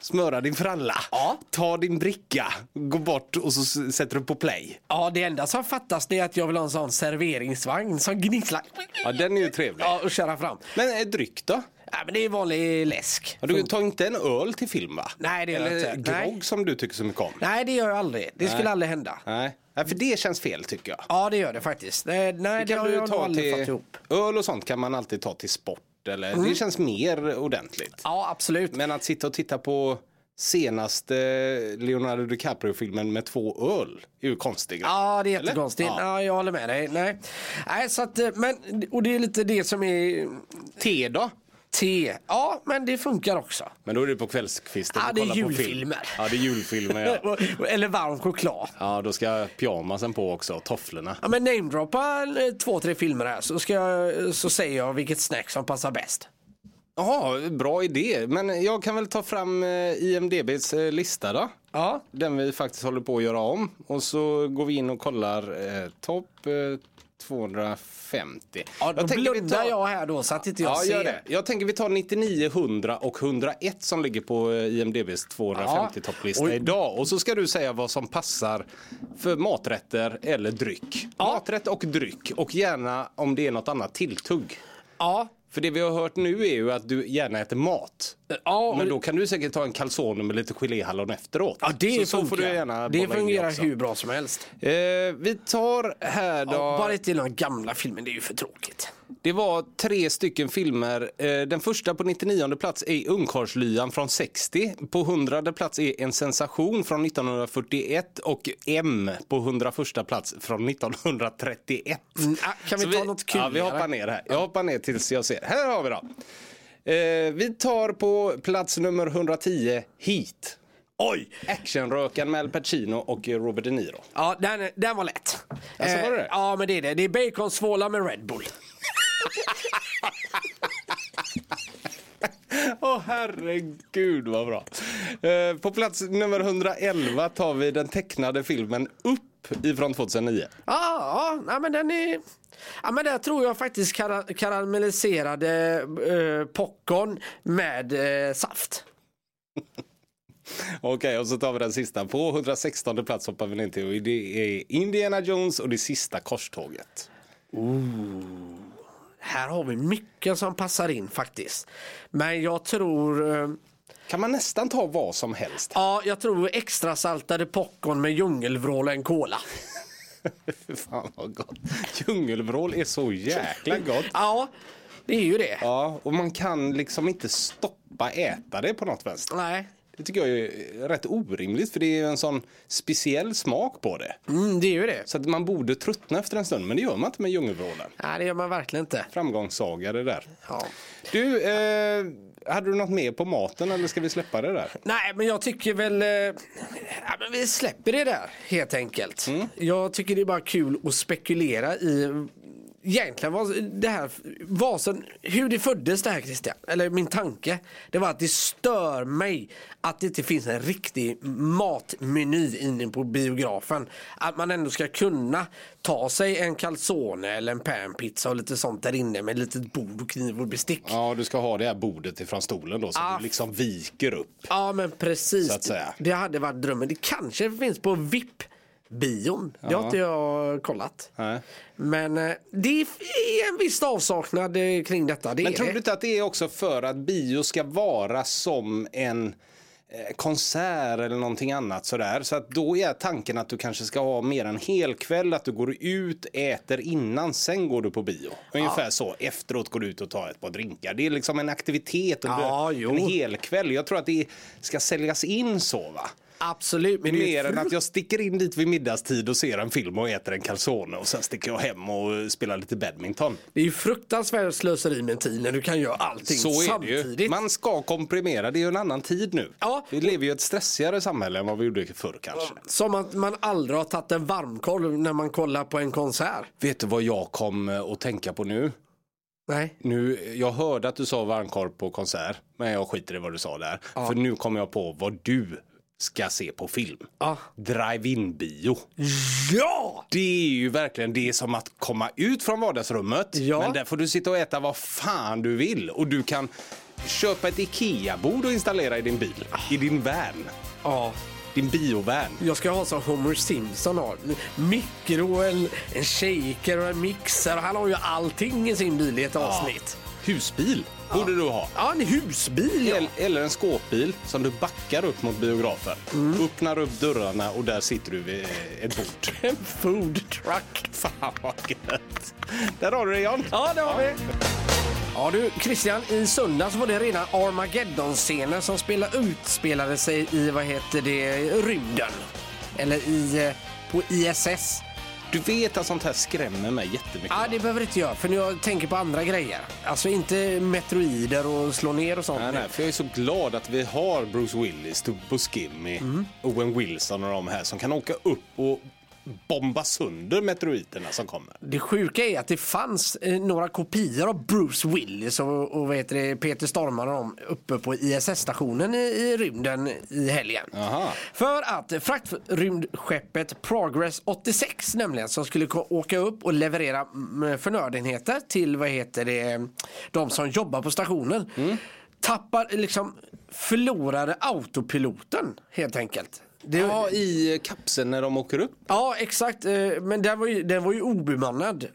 [SPEAKER 2] Smöra din fralla,
[SPEAKER 3] Ja.
[SPEAKER 2] ta din bricka, gå bort och så s- sätter du på play.
[SPEAKER 3] Ja, det enda som fattas det är att jag vill ha en sån serveringsvagn som gnisslar.
[SPEAKER 2] Ja, den är ju trevlig.
[SPEAKER 3] Ja, och köra fram.
[SPEAKER 2] Men eh, dryck då?
[SPEAKER 3] Nej, men det är vanlig läsk.
[SPEAKER 2] Ja, Du tar inte en öl till film va?
[SPEAKER 3] Nej, det gör jag
[SPEAKER 2] Eller
[SPEAKER 3] inte. Nej.
[SPEAKER 2] grogg som du tycker så mycket om?
[SPEAKER 3] Nej, det gör jag aldrig. Det skulle aldrig hända.
[SPEAKER 2] Nej. Nej, för det känns fel tycker jag.
[SPEAKER 3] Ja, det gör det faktiskt. Nej, nej det,
[SPEAKER 2] kan
[SPEAKER 3] har
[SPEAKER 2] du
[SPEAKER 3] jag nog
[SPEAKER 2] ta
[SPEAKER 3] aldrig fått
[SPEAKER 2] till...
[SPEAKER 3] ihop. Mm.
[SPEAKER 2] Öl och sånt kan man alltid ta till sport eller det känns mer ordentligt.
[SPEAKER 3] Ja, absolut.
[SPEAKER 2] Men att sitta och titta på senaste Leonardo DiCaprio-filmen med två öl är ju konstig grej.
[SPEAKER 3] Ja, det är
[SPEAKER 2] Eller?
[SPEAKER 3] jättekonstigt.
[SPEAKER 2] Ja.
[SPEAKER 3] Ja, jag håller med dig. Nej. Nej, så att, eh, men, och det är lite det som är
[SPEAKER 2] Te då?
[SPEAKER 3] te. Ja, men det funkar också.
[SPEAKER 2] Men då är det på kvällskvisten.
[SPEAKER 3] Ja,
[SPEAKER 2] och
[SPEAKER 3] det är
[SPEAKER 2] kolla på film.
[SPEAKER 3] julfilmer.
[SPEAKER 2] Ja, det är julfilmer. Ja.
[SPEAKER 3] Och- Eller varm choklad.
[SPEAKER 2] ja, då ska pyjamasen på också, tofflorna.
[SPEAKER 3] Ja, men namedroppa eh, två, tre filmer här så, ska jag, eh, så säger jag vilket snack som passar bäst.
[SPEAKER 2] Jaha, bra idé. Men jag kan väl ta fram eh, IMDBs eh, lista då?
[SPEAKER 3] Ja,
[SPEAKER 2] Den vi faktiskt håller på att göra om. Och så går vi in och kollar eh, topp eh, 250.
[SPEAKER 3] ja då
[SPEAKER 2] tänker vi
[SPEAKER 3] blundar
[SPEAKER 2] tar-
[SPEAKER 3] jag här då så att inte jag
[SPEAKER 2] Ja,
[SPEAKER 3] ser.
[SPEAKER 2] gör det. Jag tänker vi tar 99, 100 och 101 som ligger på eh, IMDBs 250-topplista
[SPEAKER 3] Oj.
[SPEAKER 2] idag. Och så ska du säga vad som passar för maträtter eller dryck. Maträtt och dryck och gärna om det är något annat tilltugg.
[SPEAKER 3] Ja,
[SPEAKER 2] För det vi har hört nu är ju att du gärna äter mat.
[SPEAKER 3] ja, och-
[SPEAKER 2] Men då kan du säkert ta en calzone med lite geléhallon efteråt.
[SPEAKER 3] ja det
[SPEAKER 2] så, så får du gärna
[SPEAKER 3] det
[SPEAKER 2] bolla in
[SPEAKER 3] fungerar
[SPEAKER 2] också.
[SPEAKER 3] hur bra som helst.
[SPEAKER 2] Eh, vi tar här då.
[SPEAKER 3] Ja, bara inte de gamla filmen, det är ju för tråkigt.
[SPEAKER 2] Det var tre stycken filmer. Eh, Den första på 99 plats är Ungkarlslyan från 60. På 100 plats är En sensation från 1941 och M på 101 plats från 1931.
[SPEAKER 3] Mm, ah, kan vi
[SPEAKER 2] Så
[SPEAKER 3] ta något kul?
[SPEAKER 2] Ja, vi hoppar ner här. Jag hoppar ner tills jag ser. Här har vi då. Eh, Vi tar på plats nummer 110 Heat.
[SPEAKER 3] Oj!
[SPEAKER 2] Actionrökan med Al Pacino och Robert De Niro.
[SPEAKER 3] Ja, den, den var lätt. Eh,
[SPEAKER 2] Alltså, var det det?
[SPEAKER 3] Ja, men det är det. Det är baconsvålar med Red Bull.
[SPEAKER 2] Åh herregud vad bra. Eh, på plats nummer 111 tar vi den tecknade filmen Upp ifrån 2009.
[SPEAKER 3] Ja, ja, nej, men den är... Ja, men där tror jag faktiskt kara karamelliserade eh, popcorn med eh, saft.
[SPEAKER 2] Okej, och så tar vi den sista. På 116 plats hoppar vi ner till. och Det är Indiana Jones och det sista korståget.
[SPEAKER 3] Här har vi mycket som passar in faktiskt. Men jag tror... Eh,
[SPEAKER 2] Kan man nästan ta vad som helst?
[SPEAKER 3] ja, jag tror extra saltade popcorn med djungelvrål och en cola.
[SPEAKER 2] Fy Fan vad gott. Djungelvrål är så jäkla gott.
[SPEAKER 3] Ja, det är ju det.
[SPEAKER 2] Ja, och man kan liksom inte stoppa äta det på något vänster.
[SPEAKER 3] Nej,
[SPEAKER 2] Det tycker jag är rätt orimligt för det är ju en sån speciell smak på det.
[SPEAKER 3] mm, det är ju det.
[SPEAKER 2] Så att man borde tröttna efter en stund, men det gör man inte med djungelvrålen.
[SPEAKER 3] Nej, det gör man verkligen inte.
[SPEAKER 2] Framgångssaga det där.
[SPEAKER 3] Ja.
[SPEAKER 2] Du, eh, hade du något mer på maten eller ska vi släppa det där?
[SPEAKER 3] Nej, men jag tycker väl... eh, Ja, men vi släpper det där, helt enkelt. Jag tycker det är bara kul att spekulera i egentligen vad det här... Vad som, hur det föddes det här, Christian. Eller min tanke. Det var att det stör mig att det inte finns en riktig matmeny inne på biografen. Att man ändå ska kunna ta sig en calzone eller en panpizza och lite sånt där inne med litet bord och kniv och bestick. Ja,
[SPEAKER 2] Ja, du ska ha det här bordet ifrån stolen då så
[SPEAKER 3] Ah.
[SPEAKER 2] du liksom viker upp.
[SPEAKER 3] men precis.
[SPEAKER 2] Så att säga.
[SPEAKER 3] Det hade varit drömmen. Det kanske finns på VIP-bion. Det har inte jag kollat.
[SPEAKER 2] Nej.
[SPEAKER 3] Men eh, det är en viss avsaknad eh, kring detta. Det
[SPEAKER 2] Men
[SPEAKER 3] är
[SPEAKER 2] tror
[SPEAKER 3] det.
[SPEAKER 2] du inte att det är också för att bio ska vara som en eh, konsert eller någonting annat sådär. Så att då är tanken att du kanske ska ha mer en hel kväll, att du går ut, äter innan, sen går du på bio. Ungefär så. Efteråt går du ut och tar ett par drinkar. Det är liksom en aktivitet under
[SPEAKER 3] Ja, jo.
[SPEAKER 2] en hel kväll. Jag tror att det ska säljas in så va.
[SPEAKER 3] Absolut. Men det
[SPEAKER 2] Mer
[SPEAKER 3] är
[SPEAKER 2] än att jag sticker in dit vid middagstid och ser en film och äter en calzone och sen sticker jag hem och eh, spelar lite badminton.
[SPEAKER 3] Det är ju fruktansvärt slöseri med tid när du kan göra allting
[SPEAKER 2] Så är det
[SPEAKER 3] samtidigt.
[SPEAKER 2] ju. Man ska komprimera, det är ju en annan tid nu.
[SPEAKER 3] Ja.
[SPEAKER 2] Vi lever ju i ett stressigare samhälle än vad vi gjorde förr kanske.
[SPEAKER 3] Som att man aldrig har tagit en varmkorv när man kollar på en konsert.
[SPEAKER 2] Vet du vad jag kom eh, att tänka på nu?
[SPEAKER 3] Nej.
[SPEAKER 2] nu jag hörde att du sa varmkorv på konsert, men jag skiter i vad du sa där. För nu kommer jag på vad du ska se på film.
[SPEAKER 3] Ja.
[SPEAKER 2] Drive-in bio.
[SPEAKER 3] Ja!
[SPEAKER 2] Det är ju verkligen det som att komma ut från vardagsrummet.
[SPEAKER 3] Ja.
[SPEAKER 2] Men där får du sitta och äta vad fan du vill. Och du kan köpa ett IKEA-bord och installera i din bil. I din van.
[SPEAKER 3] Ja.
[SPEAKER 2] Din biovan.
[SPEAKER 3] Jag ska ha som Homer Simpson har. Mikro, en, en shaker och en mixer. Han har ju allting i sin bil i ett avsnitt.
[SPEAKER 2] Husbil borde du ha.
[SPEAKER 3] Ja, en husbil. Ja.
[SPEAKER 2] El- Eller en skåpbil som du backar upp mot biografen.
[SPEAKER 3] Mm.
[SPEAKER 2] Öppnar upp dörrarna och där sitter du vid eh, ett bord.
[SPEAKER 3] En food truck.
[SPEAKER 2] Fan vad gött. Där har du det John.
[SPEAKER 3] Ja, det har vi. Ja du, Christian, i söndags var det rena Armageddon-scener som spela, utspelade sig i, vad heter det, rymden. Eller i, eh, på ISS.
[SPEAKER 2] Du vet att sånt här skrämmer mig jättemycket.
[SPEAKER 3] Ja, det behöver du inte jag, för nu jag tänker på andra grejer. Alltså inte meteorider och slå ner och sånt.
[SPEAKER 2] Nej, nej, för jag är så glad att vi har Bruce Willis, Tobbe Skimmy,
[SPEAKER 3] Mm.
[SPEAKER 2] Owen Wilson och de här som kan åka upp och bomba sönder meteoriterna som kommer.
[SPEAKER 3] Det sjuka är att det fanns eh, några kopior av Bruce Willis och, och vad heter det, Peter Stormare och dem uppe på ISS-stationen i, i rymden i helgen.
[SPEAKER 2] Aha.
[SPEAKER 3] För att fraktrymdskeppet Progress 86 nämligen som skulle ko- åka upp och leverera mm, förnödenheter till vad heter det, de som jobbar på stationen. Tappar, liksom förlorade autopiloten helt enkelt. Det,
[SPEAKER 2] Ja, i kapseln när de åker upp.
[SPEAKER 3] Ja, exakt. Eh, Men den var ju, den var ju obemannad.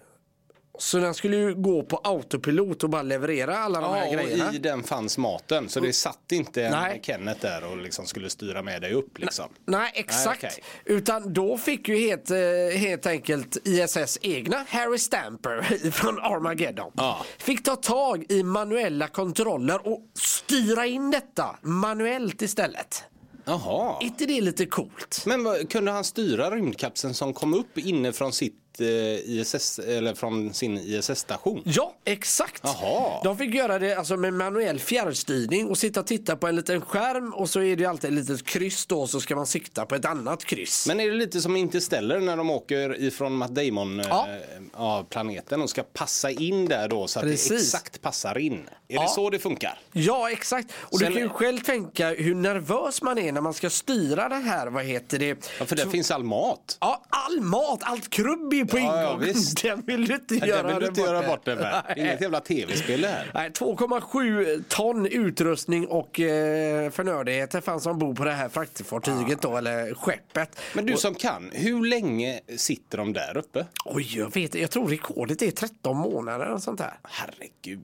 [SPEAKER 3] Så den skulle ju gå på autopilot och bara leverera alla de här
[SPEAKER 2] Ja,
[SPEAKER 3] grejerna.
[SPEAKER 2] och i den fanns maten. Så det satt inte en
[SPEAKER 3] Nej.
[SPEAKER 2] Kenneth där och liksom skulle styra med dig upp liksom.
[SPEAKER 3] Nej, exakt.
[SPEAKER 2] Nej, okej.
[SPEAKER 3] Utan då fick ju helt, eh, helt enkelt ISS egna Harry Stamper från Armageddon.
[SPEAKER 2] Ja.
[SPEAKER 3] Fick ta tag i manuella kontroller och styra in detta manuellt istället.
[SPEAKER 2] Jaha.
[SPEAKER 3] inte det lite coolt?
[SPEAKER 2] Men vad, kunde han styra rymdkapseln som kom upp inne från sitt eh, ISS, eller från sin ISS-station?
[SPEAKER 3] Ja, exakt.
[SPEAKER 2] Jaha.
[SPEAKER 3] De fick göra det alltså, med manuell fjärrstyrning och sitta och titta på en liten skärm och så är det ju alltid ett litet kryss då så ska man sikta på ett annat kryss.
[SPEAKER 2] Men är det lite som Interstellar när de åker ifrån Matt Damon eh,
[SPEAKER 3] Ja.
[SPEAKER 2] ja, planeten och ska passa in där då så att det
[SPEAKER 3] Precis.
[SPEAKER 2] exakt passar in? Är det så det funkar?
[SPEAKER 3] Ja, exakt. Och
[SPEAKER 2] Sen-
[SPEAKER 3] du kan ju själv tänka hur nervös man är när man ska styra det här, vad heter det?
[SPEAKER 2] Ja, för där finns all mat.
[SPEAKER 3] Ja, all mat, allt krubb är på ingång.
[SPEAKER 2] Ja, ja, visst.
[SPEAKER 3] Den vill du inte
[SPEAKER 2] Nej,
[SPEAKER 3] göra
[SPEAKER 2] Den vill du inte
[SPEAKER 3] bort
[SPEAKER 2] göra
[SPEAKER 3] dig.
[SPEAKER 2] bort den med. Inget jävla tv-spel det här.
[SPEAKER 3] Nej, 2,7 ton utrustning och eh, förnödenheter fanns ombord på det här fraktfartyget då, eller skeppet.
[SPEAKER 2] Ah. Men du som kan, hur länge sitter de där uppe?
[SPEAKER 3] Oj, jag vet Jag tror rekordet är 13 månader och sånt där.
[SPEAKER 2] Herregud.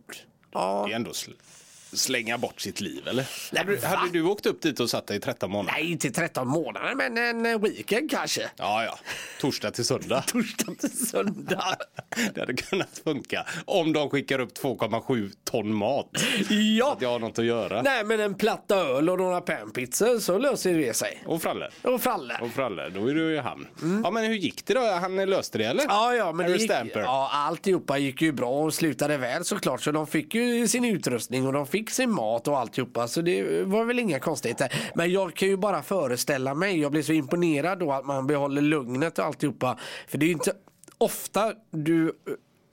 [SPEAKER 3] Ja.
[SPEAKER 2] Det är ändå sl- slänga bort sitt liv eller?
[SPEAKER 3] Nej,
[SPEAKER 2] hade, du,
[SPEAKER 3] va?
[SPEAKER 2] hade du åkt upp dit och satt dig i 13 månader?
[SPEAKER 3] Nej, inte 13 månader, men en eh, weekend kanske.
[SPEAKER 2] Ja, ja. Torsdag till söndag.
[SPEAKER 3] Torsdag till söndag.
[SPEAKER 2] Det hade kunnat funka. Om de skickar upp 2,7 ton mat.
[SPEAKER 3] ja,
[SPEAKER 2] Att jag har något att göra.
[SPEAKER 3] nej men en platta öl och några panpizzor så löser det sig.
[SPEAKER 2] Och Fralle.
[SPEAKER 3] Och Fralle.
[SPEAKER 2] Och Fralle, då är du i hamn. Ja, men hur gick det då? Han löste det eller?
[SPEAKER 3] Mm. Ja, ja, men det
[SPEAKER 2] Harry
[SPEAKER 3] gick,
[SPEAKER 2] Stamper.
[SPEAKER 3] ja, alltihopa gick ju bra och slutade väl såklart. Så de fick ju sin utrustning och de fick sin mat och alltihopa. Så det var väl inga konstigheter. Men jag kan ju bara föreställa mig. Jag blir så imponerad då att man behåller lugnet och alltihopa. För det är ju inte ofta du eh,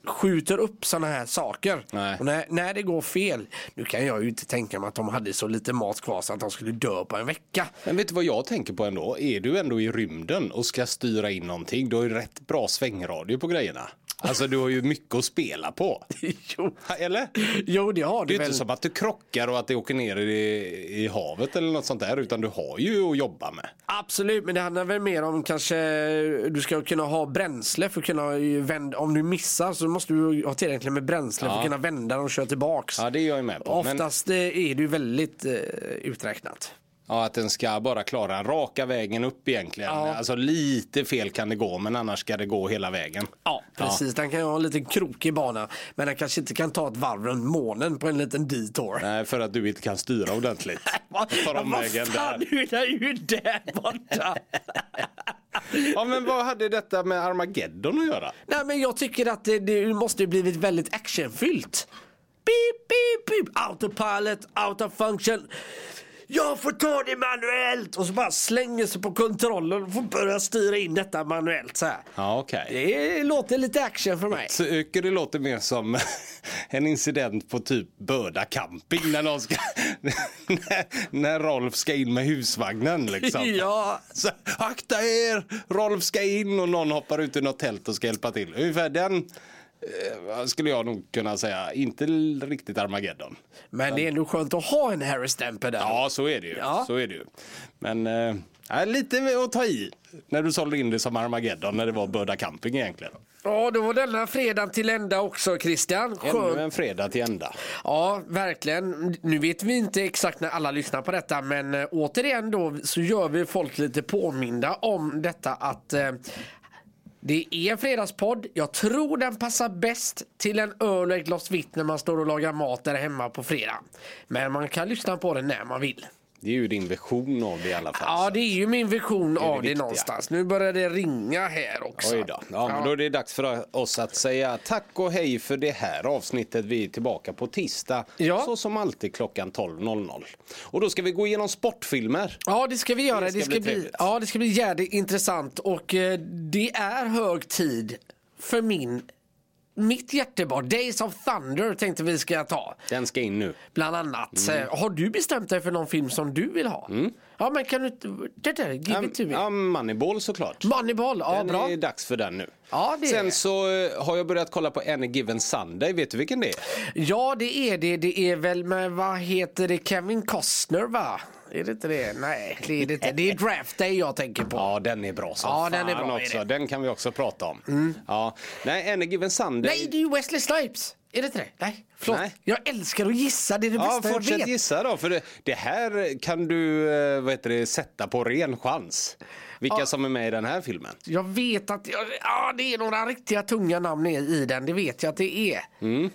[SPEAKER 3] skjuter upp sådana här saker.
[SPEAKER 2] Nej.
[SPEAKER 3] Och när, när det går fel. Nu kan jag ju inte tänka mig att de hade så lite mat kvar så att de skulle dö på en vecka.
[SPEAKER 2] Men vet du vad jag tänker på ändå? Är du ändå i rymden och ska styra in någonting, du har ju rätt bra svängradio på grejerna. Alltså du har ju mycket att spela på.
[SPEAKER 3] jo.
[SPEAKER 2] Eller?
[SPEAKER 3] jo, det
[SPEAKER 2] Det
[SPEAKER 3] har du
[SPEAKER 2] är ju
[SPEAKER 3] väl.
[SPEAKER 2] inte som att du krockar och att det åker ner i, i havet eller något sånt där, utan du har ju att jobba med.
[SPEAKER 3] Absolut, men det handlar väl mer om kanske eh, du ska kunna ha bränsle för att kunna ju vända. Om du missar så måste du ha tillräckligt med bränsle för att kunna vända och köra tillbaks.
[SPEAKER 2] Ja, det är jag ju med på. Men,
[SPEAKER 3] Oftast eh, är det ju väldigt eh, uträknat.
[SPEAKER 2] ja, att den ska bara klara raka vägen upp egentligen.
[SPEAKER 3] Ja.
[SPEAKER 2] Alltså lite fel kan det gå, men annars ska det gå hela vägen.
[SPEAKER 3] Ja, precis. Den kan ju ha en liten krokig bana, men den kanske inte kan ta ett varv runt månen på en liten detour.
[SPEAKER 2] Nej, för att du inte kan styra ordentligt. Tar de vägen där.
[SPEAKER 3] du är ju där borta.
[SPEAKER 2] Ja, men vad hade detta med Armageddon att göra?
[SPEAKER 3] Nej men jag tycker att det, det måste ju blivit väldigt actionfyllt. Beep, beep, beep. Autopilot, out of function. Jag får ta det manuellt! Och så bara slänger sig på kontrollen och får börja styra in detta manuellt så här.
[SPEAKER 2] Ja, okej.
[SPEAKER 3] Det låter lite action för mig.
[SPEAKER 2] Så Öker det låter mer som en incident på typ Börda camping när, någon ska, när, när Rolf ska in med husvagnen. Liksom.
[SPEAKER 3] Ja.
[SPEAKER 2] Så, akta er! Rolf ska in och någon hoppar ut ur något tält och ska hjälpa till. Ungefär den eh, skulle jag nog kunna säga. Inte l- riktigt Armageddon.
[SPEAKER 3] Men det är nog skönt att ha en Harry Stamper där.
[SPEAKER 2] Ja, så är det ju.
[SPEAKER 3] Ja.
[SPEAKER 2] Så är det ju. Men eh, ja, lite att ta i när du sålde in det som Armageddon när det var Börda camping egentligen.
[SPEAKER 3] Ja, då var denna fredagen till ända också Christian. Skönt
[SPEAKER 2] Ännu en fredag till ända.
[SPEAKER 3] Ja, verkligen. Nu vet vi inte exakt när alla lyssnar på detta men eh, återigen då så gör vi folk lite påminda om detta att eh, det är en fredagspodd. Jag tror den passar bäst till en öl och ett glas vitt när man står och lagar mat där hemma på fredag. Men man kan lyssna på den när man vill.
[SPEAKER 2] Det är ju din vision av det i alla fall.
[SPEAKER 3] Ja, det är ju min vision
[SPEAKER 2] det
[SPEAKER 3] av det
[SPEAKER 2] viktiga.
[SPEAKER 3] någonstans. Nu börjar det ringa här också.
[SPEAKER 2] Oj då. Ja, men då är det dags för oss att säga tack och hej för det här avsnittet. Vi är tillbaka på tisdag,
[SPEAKER 3] Ja.
[SPEAKER 2] så som alltid klockan 12.00. Och då ska vi gå igenom sportfilmer.
[SPEAKER 3] Ja det ska vi göra. Det
[SPEAKER 2] ska
[SPEAKER 3] ska,
[SPEAKER 2] bli
[SPEAKER 3] bli,
[SPEAKER 2] trevligt.
[SPEAKER 3] ja, det ska bli jävligt intressant och eh, det är hög tid för min mitt hjärtebarn, Days of Thunder tänkte vi ska ta.
[SPEAKER 2] Den ska in nu.
[SPEAKER 3] Bland annat.
[SPEAKER 2] Mm.
[SPEAKER 3] Eh, Har du bestämt dig för någon film som du vill ha? Ja men kan du inte, det där, give it to me.
[SPEAKER 2] Ja, Moneyball såklart.
[SPEAKER 3] Moneyball, ja
[SPEAKER 2] Den
[SPEAKER 3] bra.
[SPEAKER 2] är dags för den nu.
[SPEAKER 3] Ja, det är
[SPEAKER 2] Sen
[SPEAKER 3] det.
[SPEAKER 2] så eh, har jag börjat kolla på Any Given Sunday. Vet du vilken det är?
[SPEAKER 3] Ja det är det, det är väl med, vad heter det, Kevin Costner va? Är det inte det? Nej det är det inte. Det är Draft Day jag tänker på.
[SPEAKER 2] Ja, den är bra som
[SPEAKER 3] Ja,
[SPEAKER 2] fan
[SPEAKER 3] den är bra, är
[SPEAKER 2] också.
[SPEAKER 3] det. Mm.
[SPEAKER 2] Den kan vi också prata om. Ja. Nej, Any Given Sunday.
[SPEAKER 3] Nej, det är ju Wesley Snipes. Är det inte det? Nej, förlåt.
[SPEAKER 2] Nej.
[SPEAKER 3] Jag älskar att gissa. Det är det
[SPEAKER 2] Ja,
[SPEAKER 3] bästa jag
[SPEAKER 2] fortsätt
[SPEAKER 3] vet.
[SPEAKER 2] gissa då, för det, det här kan du eh, vad heter det, sätta på ren chans. Vilka som är med i den här filmen.
[SPEAKER 3] Jag vet att jag, ja, det är några riktiga tunga namn i- i den. Det vet jag att det är.
[SPEAKER 2] Mm.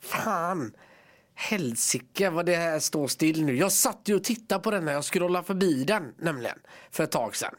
[SPEAKER 3] Fan. Helsike vad det här står still nu. Jag satt ju och tittade på den när jag scrollade förbi den nämligen. För ett tag sedan.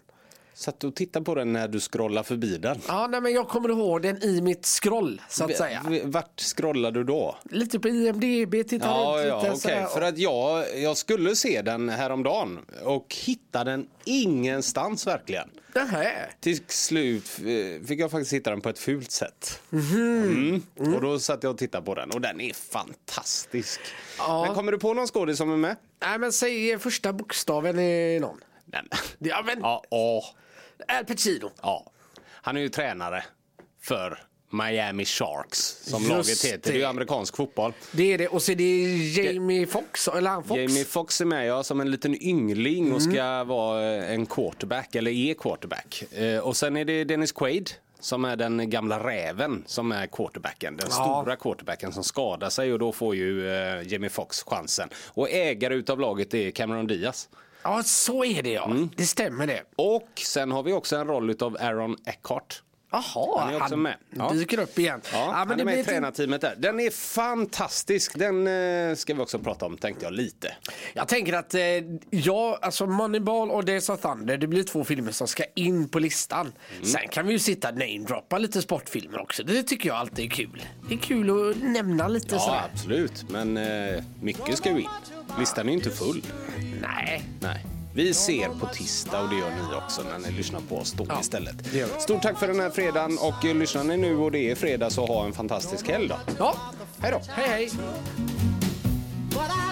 [SPEAKER 2] Satt du och tittade på den när du scrollar förbi den?
[SPEAKER 3] Ja, nej, men jag kommer ihåg den i mitt scroll så att säga.
[SPEAKER 2] V- Vart scrollar du då?
[SPEAKER 3] Lite på IMDB, tittar
[SPEAKER 2] Ja,
[SPEAKER 3] runt
[SPEAKER 2] ja
[SPEAKER 3] lite.
[SPEAKER 2] okej.
[SPEAKER 3] sådär.
[SPEAKER 2] För att jag, jag skulle se den häromdagen och hittade den ingenstans verkligen.
[SPEAKER 3] Nähä.
[SPEAKER 2] Till slut eh, fick jag faktiskt hitta den på ett fult sätt.
[SPEAKER 3] Mhm.
[SPEAKER 2] Mm. Och då satt jag och tittade på den och den är fantastisk.
[SPEAKER 3] Ja.
[SPEAKER 2] Men kommer du på någon skådis som är med?
[SPEAKER 3] Nej, men säg första bokstaven i någon.
[SPEAKER 2] Nej, men.
[SPEAKER 3] Ja, men
[SPEAKER 2] Ja, åh.
[SPEAKER 3] Al Pacino.
[SPEAKER 2] Ja. Han är ju tränare. för Miami Sharks som
[SPEAKER 3] Just
[SPEAKER 2] laget heter. Det är ju
[SPEAKER 3] det.
[SPEAKER 2] amerikansk fotboll.
[SPEAKER 3] Det är det. Och så är det Jamie Fox eller han Fox.
[SPEAKER 2] Jamie Foxx är med ja, som en liten yngling och ska vara eh, en quarterback, eller är quarterback. Eh, Och sen är det Dennis Quaid som är den gamla räven som är quarterbacken. Den
[SPEAKER 3] Ja.
[SPEAKER 2] stora quarterbacken som skadar sig och då får ju eh, Jamie Foxx chansen. Och ägare utav laget är Cameron Diaz.
[SPEAKER 3] Ja, så är det ja.
[SPEAKER 2] Mm.
[SPEAKER 3] Det stämmer det.
[SPEAKER 2] Och sen har vi också en roll utav Aaron Eckhart.
[SPEAKER 3] Jaha,
[SPEAKER 2] Han är också med. Ja.
[SPEAKER 3] dyker upp igen.
[SPEAKER 2] Ja,
[SPEAKER 3] men
[SPEAKER 2] han är med i
[SPEAKER 3] blir ett-
[SPEAKER 2] tränarteamet där. Den är fantastisk. Den eh, ska vi också prata om tänkte jag lite.
[SPEAKER 3] Jag tänker att eh, ja, alltså Moneyball och Days of Thunder, det blir två filmer som ska in på listan.
[SPEAKER 2] Mm.
[SPEAKER 3] Sen kan vi ju sitta och namedroppa lite sportfilmer också. Det tycker jag alltid är kul. Det är kul att nämna lite
[SPEAKER 2] Ja,
[SPEAKER 3] sådär.
[SPEAKER 2] absolut. Men eh, mycket ska ju in. Listan är ju inte full.
[SPEAKER 3] Nej.
[SPEAKER 2] Nej. Vi ser på tisdag och det gör ni också när ni lyssnar på oss då
[SPEAKER 3] Ja,
[SPEAKER 2] istället.
[SPEAKER 3] det gör vi.
[SPEAKER 2] Stort tack för den här fredagen och eh, lyssnar ni nu och det är fredag så ha en fantastisk helg då.
[SPEAKER 3] Ja,
[SPEAKER 2] Hej då!
[SPEAKER 3] hej hej.
[SPEAKER 4] But I